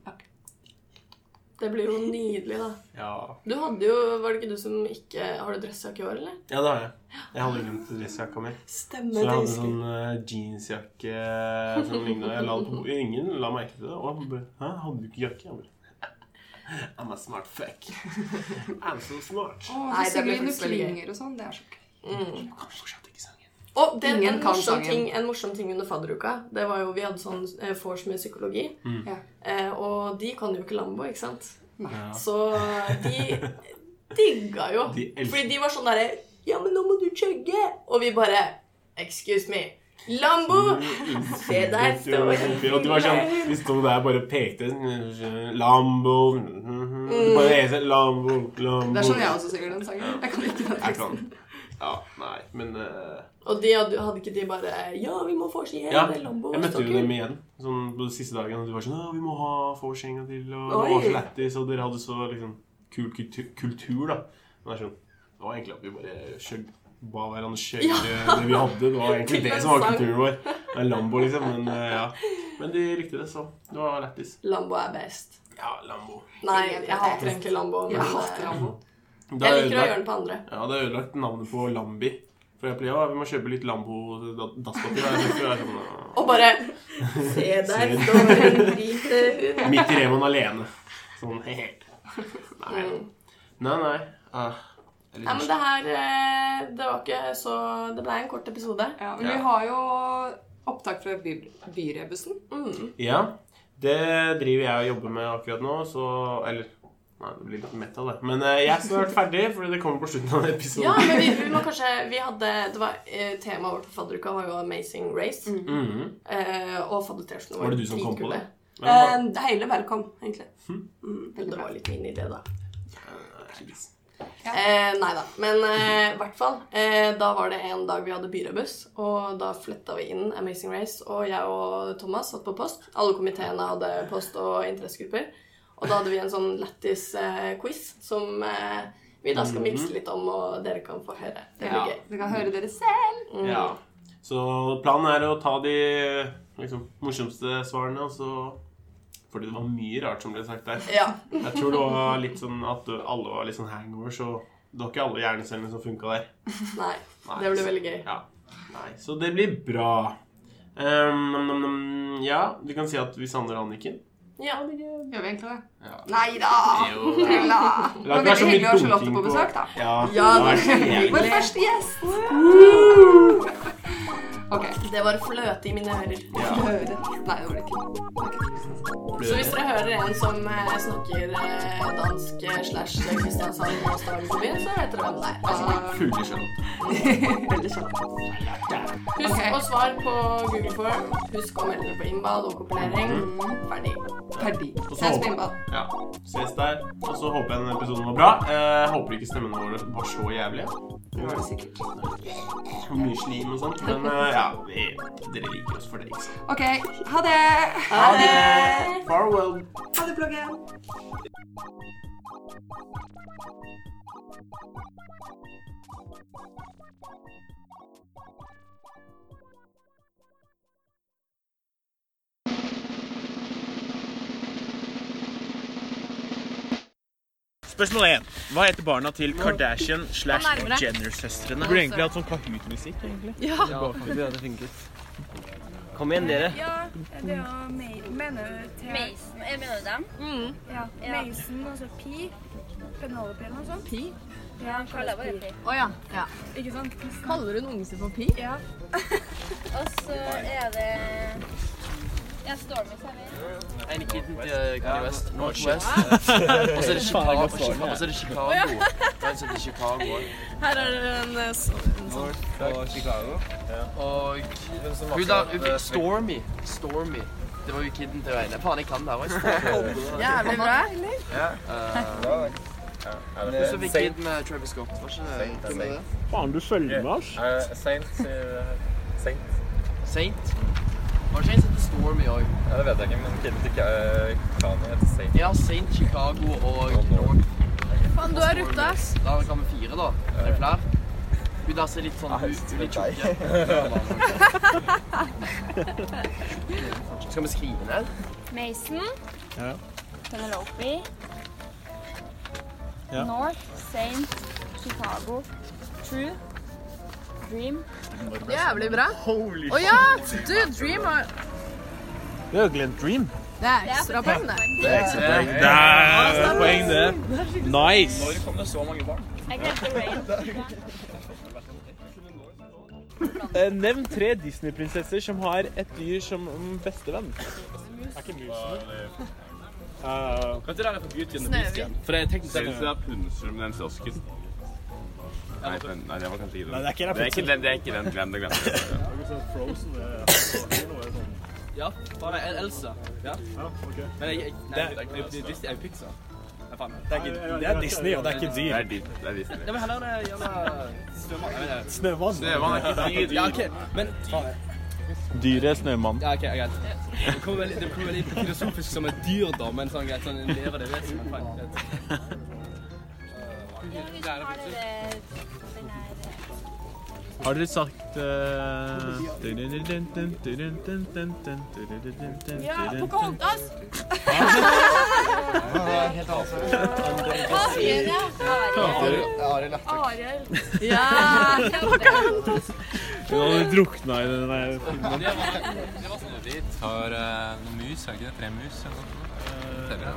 B: Det blir jo nydelig, da.
A: Ja.
B: Du hadde jo Var det ikke du som ikke Har du dressjakke i år, eller?
A: ja, det har jeg. Jeg hadde glemt dressjakka mi. Så
D: Stemmer
A: jeg
D: det.
A: hadde
D: husker jeg.
A: sånn eh, jeansjakke som lignet. Jeg la det på bordet. Ingen la merke til det. Og han bare Hæ, hadde du ikke jakke? Jeg bare I'm a smart fuck. I'm so smart.
C: Å,
B: Nei, det blir
C: Celine
B: faktisk veldig gøy.
C: Klinger og sånn. Det er så gøy.
A: Du kan fortsatt ikke sangen.
B: Og det,
C: Ingen
B: en,
C: kan
B: morsom
C: sangen.
B: ting, en morsom ting under fadderuka Det var jo, Vi hadde sånn eh, vors med psykologi.
C: Ja.
B: Eh, og de kan jo ikke Lambo, ikke sant?
C: Mm.
A: Ja.
B: Så de digga jo.
A: De elsker-
B: Fordi de var sånn derre Ja, men nå må du chugge! Og vi bare Excuse me. Lambo! Se der står jeg.
A: Og de var sånn De sto der og bare pekte. Lambo
B: Mm.
A: Du bare leser Lambo, Lambo
C: Det er sånn jeg også synger den sangen. Jeg kan ikke den
A: Jeg
C: teksten.
A: kan Ja, nei, men eh,
B: Og de hadde, hadde ikke de bare Ja, vi må vorse i hjel.
A: Ja,
B: det er Lambo.
A: jeg møtte jo
B: stokker».
A: dem igjen sånn på den siste dagen. Og de var sånn «Å, 'Vi må ha vors en gang til.' Og
D: Oi.
A: det var så lættis, og dere hadde så liksom kul kultur, kultur da. Men det er sånn Det var egentlig at vi bare kjøg, ba hverandre kjøgge det vi hadde. Det var egentlig
B: Til
A: det
B: en
A: som var
B: sang.
A: kulturen vår. Det er Lambo, liksom. Men eh, ja. Men de likte det, så det var lættis.
B: Lambo er best.
A: Ja, Lambo.
B: Nei, jeg hater egentlig Lambo. Men eh,
C: Jeg hater Rambo.
A: Det
B: Jeg
A: er
B: liker å gjøre
A: ødelagt,
B: den på andre.
A: ja, det er ødelagt navnet på Lambi. For jeg pleier, ja, vi må kjøpe litt Lambo-dasspapir. Jeg synes jo det er sånn, eh,
B: Og bare
A: sånn
B: Se der
A: Se.
B: står en hvit hund.
A: Midt i Remon alene. Sånn he-he. Nei.
B: Mm.
A: Nei, nei. Ah, jeg er
B: Nei, men
A: litt
B: det her eh, Det var ikke så Det ble en kort episode.
C: Ja, men
A: Ja.
C: vi har jo opptak fra by Byrebussen.
B: Mm.
A: Ja, det driver jeg og jobber med akkurat nå, så Eller Nei, det blir litt metal, det. Men eh, jeg er snart ferdig, fordi det kommer på slutten av episoden.
B: Ja, men vi, vi må kanskje Vi hadde Det var eh, Temaet vårt for fadderuka var jo Amazing Race.
A: Mhm.
B: Eh, og faddertestene
A: Var det du som kom på
B: dritkule.
A: det? Hm? Men,
D: Eh, hele velkom, egentlig.
B: Det var litt min idé, da.
A: eh,
B: Eh, nei da. Men eh, i hvert fall. Eh, da var det en dag vi hadde byrebuss, og da flytta vi inn Amazing Race. Og jeg og Thomas satt på post. Alle komiteene hadde post og interessegrupper. Og da hadde vi en sånn lættis eh, quiz som eh, vi da skal mikse litt om, og dere kan få høre. Det blir
A: Mhm. Ja.
B: gøy.
C: Dere kan høre dere selv.
B: Mm.
A: ja. Så planen er å ta de liksom, morsomste svarene, og så Fordi det var mye rart som ble sagt der.
B: Ja.
A: Jeg tror det var litt sånn at alle var litt sånn hangover, så det var ikke alle hjernecellene som funka der.
B: Nei.
A: Nei,
B: Det blir veldig gøy.
A: Ja. Nei, så det blir bra. Ehm, nam, nam, nam. ja, du kan si at vi savner Anniken.
B: Ja.
C: Gjør vi egentlig det?
A: Ja.
C: Nei da!
A: Jo, da.
C: Tulla! Ah, Det var veldig hyggelig å ha Charlotte på besøk, da.
A: Ja, det
B: Ja,
A: var
B: det
A: så
B: var hyggelig.
A: jævlig.
C: Vår første gjest! Ok.
B: Det var fløte i mine ører.
A: Ja.
C: Høre. Nei, det var det ikke.
B: Så hvis dere hører en som eh, snakker eh, dansk eh, slash Kristiansand og Stavanger, så vet dere hvem det er.
A: Fugle Charlotte.
D: Veldig kjapt.
B: Husk
C: Ok.
B: å svare på Google Form. Husk å melde dere på innbad og kopulering. Ferdig.
C: Ferdig.
A: Og så-
C: Ses på innball.
A: Ja. Ses der. Og så håper jeg denne episoden var bra. Eh, håper ikke stemmene våre var så jævlige.
C: Det var det sikkert.
A: Så mye slim og sånt. Men eh, ja, vi, dere liker oss for det, ikke sant.
C: Ok, ha det!
B: Ha det!
A: Farewell.
C: Ha det, bloggen!
E: Spørsmål 1. Hva heter barna til Kardashian slash Jenner-søstrene? Burde egentlig hatt sånn Kahoot-musikk, egentlig.
F: Kom igjen, dere.
G: Ja, det er jo Ma- mener du til
H: Mason, jeg mener du dem?
G: Ja, Mason, altså Pi. Penelope eller noe sånt. Pi? Ja, han kalles
H: Kaller bare
G: Pi.
H: det.
G: Ikke sant?
B: Kaller hun ungen sin for pi?
G: Ja.
H: Og så er det Ja, Stormy serverer.
F: En kiden til Kanye West. Northwest. Og så er det Chicago. Og Chica- og så er det Chicago. Det er en som heter Chicago også.
B: Her er det en eh, s-
F: eh, Og hun der Stormy. Stormy. Det var jo kiden til Reine. Faen, jeg kan det her også.
H: Jævlig bra.
F: Ja. eh, Og så fikk kid med Travis Scott. Var ikke det?
A: Faen, du følger med, ass.
F: Eh,
I: Seint sier Seint.
F: Saint? Var det ikke en som heter Stormy òg?
I: Ja, det vet jeg ikke, men kiden til Ka- Kanye heter Seint.
F: Ja, Saint Chicago og North.
H: Faen, du har rutta, ass.
F: Da kan vi fire, da. Er det flere? Hun der ser litt sånn
I: Jeg
F: ut. Hun er litt
I: husker
F: tjukke. Skal vi skrive ned?
H: Mason.
A: Ja.
H: Penelope.
A: Ja.
H: North, Saint, Chicago, True, Dream.
B: Jævlig bra.
A: Holy
B: Å ja! Du, Dream har
A: Det er jo Glenn Dream.
B: Det er ekstra poeng, det.
A: Det er poeng, det. Nice.
I: kom det så mange barn?
H: Jeg glemte Rain.
A: Eh, Nevn tre Disney-prinsesser som har et dyr som bestevenn. Er ikke musen det?
I: Kan ikke dere få Beauty and the
B: Beast igjen?
I: For det er teknisk sett så er Rapunzel med den kiosken. Nei, men- nei, det var kanskje ikke
A: Nei,
I: den.
A: det er ikke
I: Det er ikke
A: Rapunzel.
I: den, det er ikke den. Glem det, glem det.
F: Ja. Faen, jeg er Elsa. Ja. Men jeg, jeg, nei, jeg, jeg, jeg, Disney er jo Pixar. Nei, faen. Det er ikke
A: Det er Disney, og det er ikke
I: Det
A: dyr.
I: er dit, det er dit.
F: Ja, men heller er det gjerne Stømann. Jeg vet
A: Snømann.
F: ikke. Ja, OK. Men faen.
A: Dyret Snømann.
F: Ja, OK, greit. Det kommer veldig, det kommer veldig filosofisk som et dyr, da, men sånn greit, sånn en levende vesen. men faen, greit.
A: Har dere sagt eh,
H: Ja, Pocahontas! Hva sier jeg? Ariel. Ariel.
B: Ja!
A: Hun hadde drukna i den der filmen.
F: sånn
I: Vi tar
F: eh,
I: noen mus, er det ikke det? Tre mus eller noe Eh,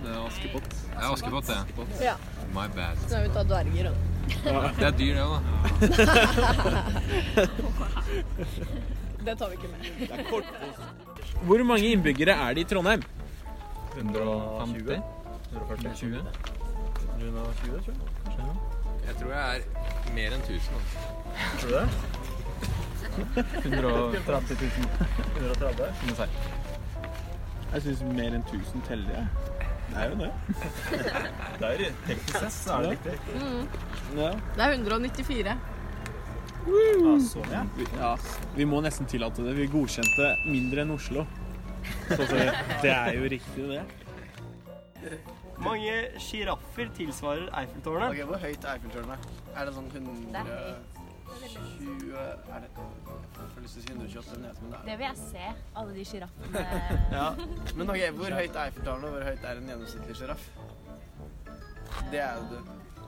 I: Det er Askepott. Ja, Askepott, det.
B: Ja.
I: My bad.
B: Nå er vi tatt dverger og
I: Det er dyr, det òg, da.
B: Det tar vi ikke med.
A: Hvor mange innbyggere er det i Trondheim?
I: 150? 120? 120, Jeg tror jeg er mer enn 1000. Altså.
A: Jeg syns mer enn 1000 teller, jeg. Det er jo det. Mm. Det er
B: Det er 194.
A: riktig. sånn, Ja. Vi må nesten tillate det. Vi godkjente mindre enn Oslo. Så det, det er jo riktig, det.
J: mange sjiraffer tilsvarer Eiffeltårnet?
F: Ok, Hvor høyt er Eiffeltårnet? Er det sånn 120 Er det Jeg får lyst til å si 128 meter, men det er
H: Det vil jeg se. Alle de sjiraffene.
F: ja. Men ok, hvor høyt er Eiffeltårnet, og hvor høyt er en gjennomsnittlig sjiraff? Det er jo du.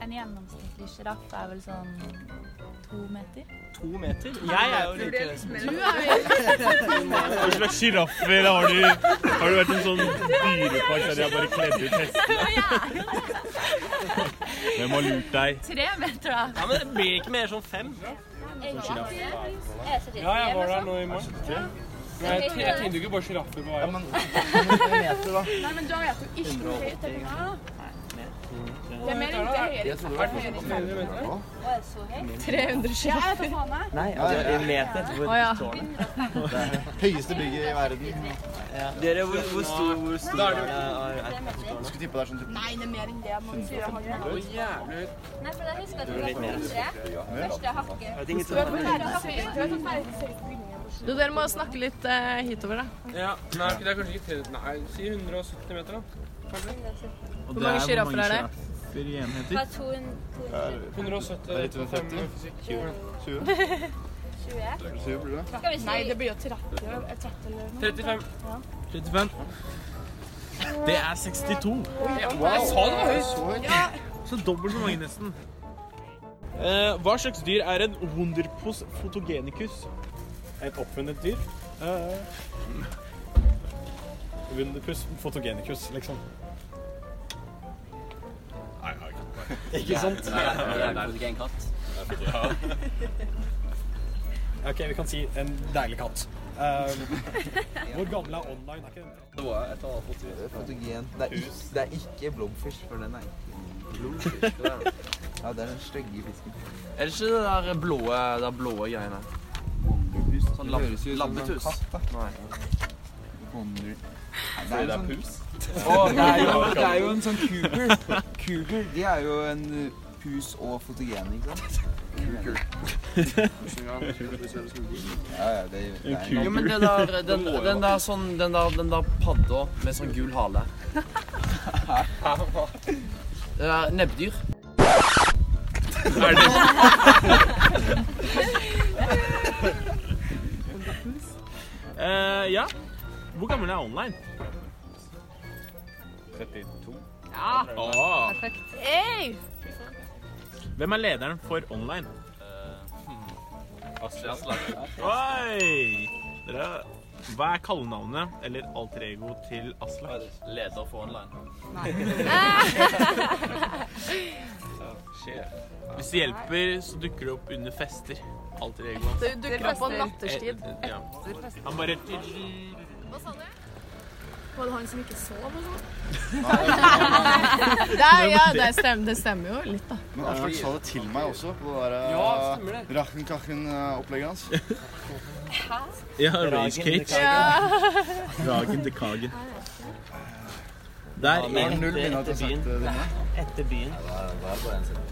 H: En gjennomsnittlig sjiraff er vel sånn to meter.
J: To meter? Jeg er jo like
A: Hva slags sjiraffer har du? Har du vært en sånn dyrepark der de har bare kledd ut hestene? Hvem har lurt deg?
H: Tre meter, da.
J: Ja, men det blir ikke mer sånn fem.
H: Ja, jeg var der nå i morges. Jeg tenkte jo ikke bare sjiraffer på veien. Nei, men da vet du ikke hvor høyt det er. Det er mer enn det høyere.
F: Jeg trodde det var noe sånt.
H: Å, er det så høyt?
B: 300 sjiraffer.
J: Nei, altså, en meter.
B: Å ja.
E: Høyeste bygget i verden.
J: Dere, hvor, hvor stor, hvor stor er
H: Tre meter.
E: Skulle tippe det er sånn typ
H: Nei, det er mer enn det. Må du si det har
F: Å, jævlig høyt.
H: Nei, for jeg husker at det var første, første hakke.
J: Eiffeltårnet?
H: Du vet at hakke- du vet at hakke-
B: Du, dere må snakke litt eh, hitover, da.
J: Ja. Nei, det er kanskje ikke 300 Nei, si 170 meter, da.
A: Hvor
B: mange sjiraffer er det?
A: sjiraffer i enheter?
H: Fra 200 220.
J: 170
E: 150? 20? 20 blir det.
H: Skal vi si Nei, det blir
J: 35.
A: 35. Det er 62.
J: Jeg sa det var høyt!
A: Så dobbelt så mange, nesten. Eh, hva slags dyr er en wonderpos fotogenicus? Et oppfunnet dyr? Uh, wunderpus fotogenicus, liksom. Ikke sant? OK, vi kan si en deilig katt. Eh, hvor gammel er online? Er ikke den?
E: Fotogen. Det er, ikke, det er ikke blomfish, for den er ikke Ja, det er den stygge fisken.
F: Er det ikke det der blå, det der blå greiene? Sånn lab labbetuss?
E: Katt, da.
F: Nei. sånn-
K: 100 Nei,
E: Fordi det er
K: en
E: puls?
K: Å, det er jo, det er jo en sånn Cooper. Cooper, de er jo en uh, pus og fotogen, ikke sant? Cooper. Ja, ja, det, det er
F: Jo, men det der, den, den der sånn Den der, den der padda med sånn gul hale. Det der nebbdyr. Er
E: Eh, ja. Hvor gammel er online?
A: 32.
L: Ja.
E: Åh.
L: Perfekt. Hey!
E: Hvem er lederen for online?
A: Astrid Aslag.
E: Oi! Dere, hva er kallenavnet eller alter ego til Aslak?
F: Leder for online.
E: Hvis det hjelper, så dukker det opp under fester. Alter ego.
M: Det dukker opp på nattestid.
E: Eh, ja.
M: Etter fester.
E: Han bare
L: Hva sa du? Var det han som ikke sov og sånn?
B: Det, er, ja, det, stemmer, det stemmer jo litt, da.
A: Men Aslak sa det til meg også, på det
B: Ja,
A: der
B: stemmer det.
A: Rachen-kachen-opplegget hans.
E: Ja, Race Cage. Ragen til Kagen. Der.
A: Ja, men null begynner at jeg har sagt det, Rune.
N: Etter byen.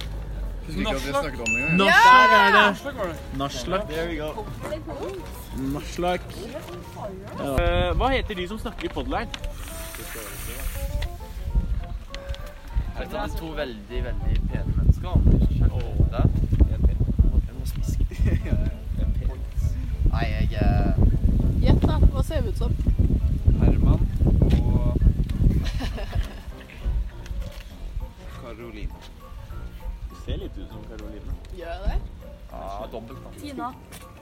A: Husker ikke at vi
E: Norsk.
A: snakket om det engang.
E: Norsk, der er det. Norsk var det. Norsk.
A: There we go.
E: Maslak. Eh, hva heter de som snakker i podline?
F: Er det er to veldig, veldig pene mennesker? Og der. Jeg må smiske.
A: Nei, jeg er
B: Gjett, da. Hva ser vi ut som?
K: eh, Herman og Karoline.
E: Du ser litt ut som Karoline.
B: Gjør det?
F: Ja, dobbelt. da.
B: Tina.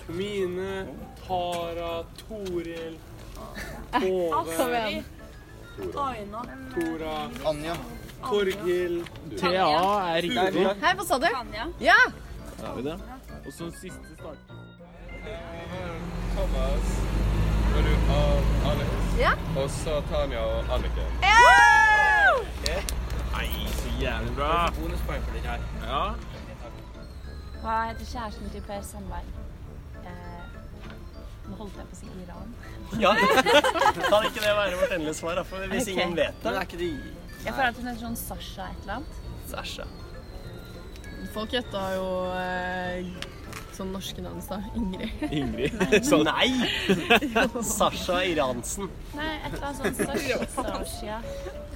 O: Mine, Tara, Toril, Tove,
B: Astrid. Aina.
O: Tora,
A: Anja.
O: Torgil
E: Thea er riktig.
B: Hei, hva sa du? Ja!
E: Da har vi det. Og så siste start.
O: Thomas, Maru- og Alex.
B: Ja.
O: Og så Tanja og Anniken.
E: Nei, så jævlig bra.
O: Bonuspoeng for dere her.
E: Ja.
H: Hva heter kjæresten til Per Sandberg? Eh, nå holdt jeg på å si Iran.
N: Ja. Kan ikke det være vårt endelige svar, da? For hvis
H: Ok.
N: ingen vet det
H: Men er
N: ikke de
H: Jeg føler at hun heter sånn Sasha et eller annet.
N: Æsj,
B: Folk gjetta jo eh, sånn norske navn i stad. Ingrid.
N: Ingrid. Nei! Sasha Iransen.
H: Nei, et eller annet sånn Sasha. Sasha.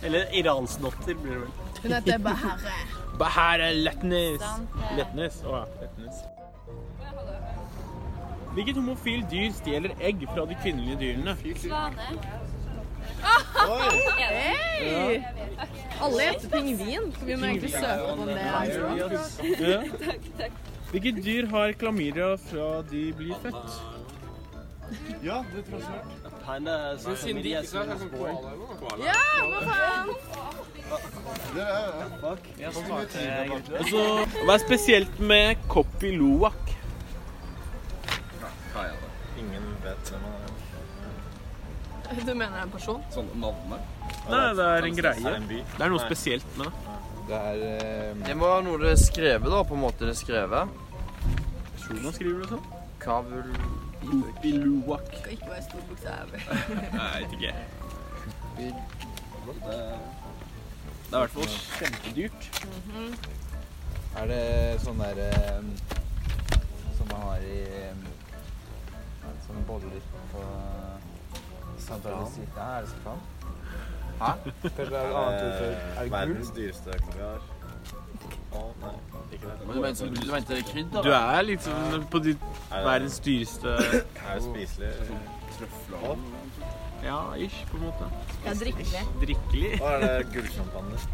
N: Eller Iransdotter blir det vel.
B: Hun heter Bahareh.
E: Bahar Letnes.
B: Sant,
H: ja.
E: Letnes. Å ja. Letnes. Hvilket homofilt dyr stjeler egg fra de kvinnelige dyrene?
H: Svane.
B: Oi. Hey! Alle heter pingvin. så Vi må egentlig søke opp om det.
E: Ja. Hvilket dyr har klamydia fra de blir født?
N: Ja, det tror jeg snart. Panda
O: Men siden de ikke sa, så er det sånn koala eller noe. Koala.
B: Ja, hva faen?
A: Det er Fuck.
N: Jeg
A: Hvor mye
N: svarte,
A: tid har
N: egentlig.
E: Og så, hva er spesielt med Kopi Luwak?
A: Ingen vet hvem han er.
B: Du mener det er en person?
A: Sånn navnet?
E: Nei, det er en greie.
A: en by.
E: Det er noe spesielt med det.
F: Det må være noe det er skrevet, da, på en måte. Det er skrevet.
E: Hvordan skriver du sånn?
F: Kavul...
E: Kopi Luwak.
M: Skal ikke være stor bokstav.
E: Nei, jeg vet ikke.
K: Det
E: Det er i hvert fall kjempedyrt.
K: Er det sånn der eh, som man har i eh, Sånne boller på Santorini City? Ja, er det safran? Hæ? Kanskje det er et annet ord for Er det
A: Verdens
K: gult?
A: dyreste kaviar. Å, nei. Ikke det.
F: Men du mente, du mente det er krydder?
E: Du er liksom på ditt
A: det-
E: verdens dyreste
A: Er det spiselig? Trøfler.
E: Ja, ish, på en måte.
B: Ja, drikkelig.
E: Drikkelig.
A: Hva er det gullsjampanje?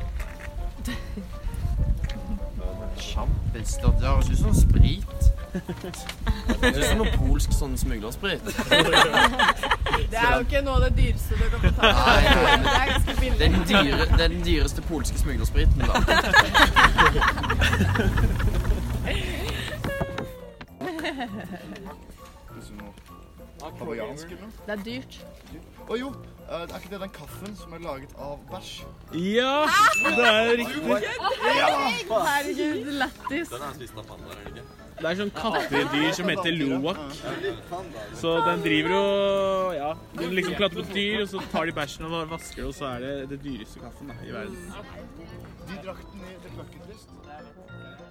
F: Sjampis Det det høres ut som sprit. Det er som noe polsk sånn smuglersprit.
B: Det er jo ikke noe av det dyreste du kan få ta.
F: Nei,
B: Det
F: nei,
B: er ganske
F: men
B: billig.
F: det er den, dyre, det er den dyreste polske smuglerspriten, da.
A: Hawaiiansk eller noe?
B: Det er dyrt.
A: Å jo, eh, er ikke det den kaffen som er laget av bæsj?
E: Ja, det er riktig.
A: Ja!
B: Herregud, lættis.
O: Den er spist av pandaer, er den ikke?
A: Det er sånn kattedyr som heter luwak. Så den driver jo Ja. Den liksom klatrer på dyr, og så tar de bæsjen og vasker det, og så er det det dyreste kaffen da, i verden.
E: De drakk den i The Bucket List.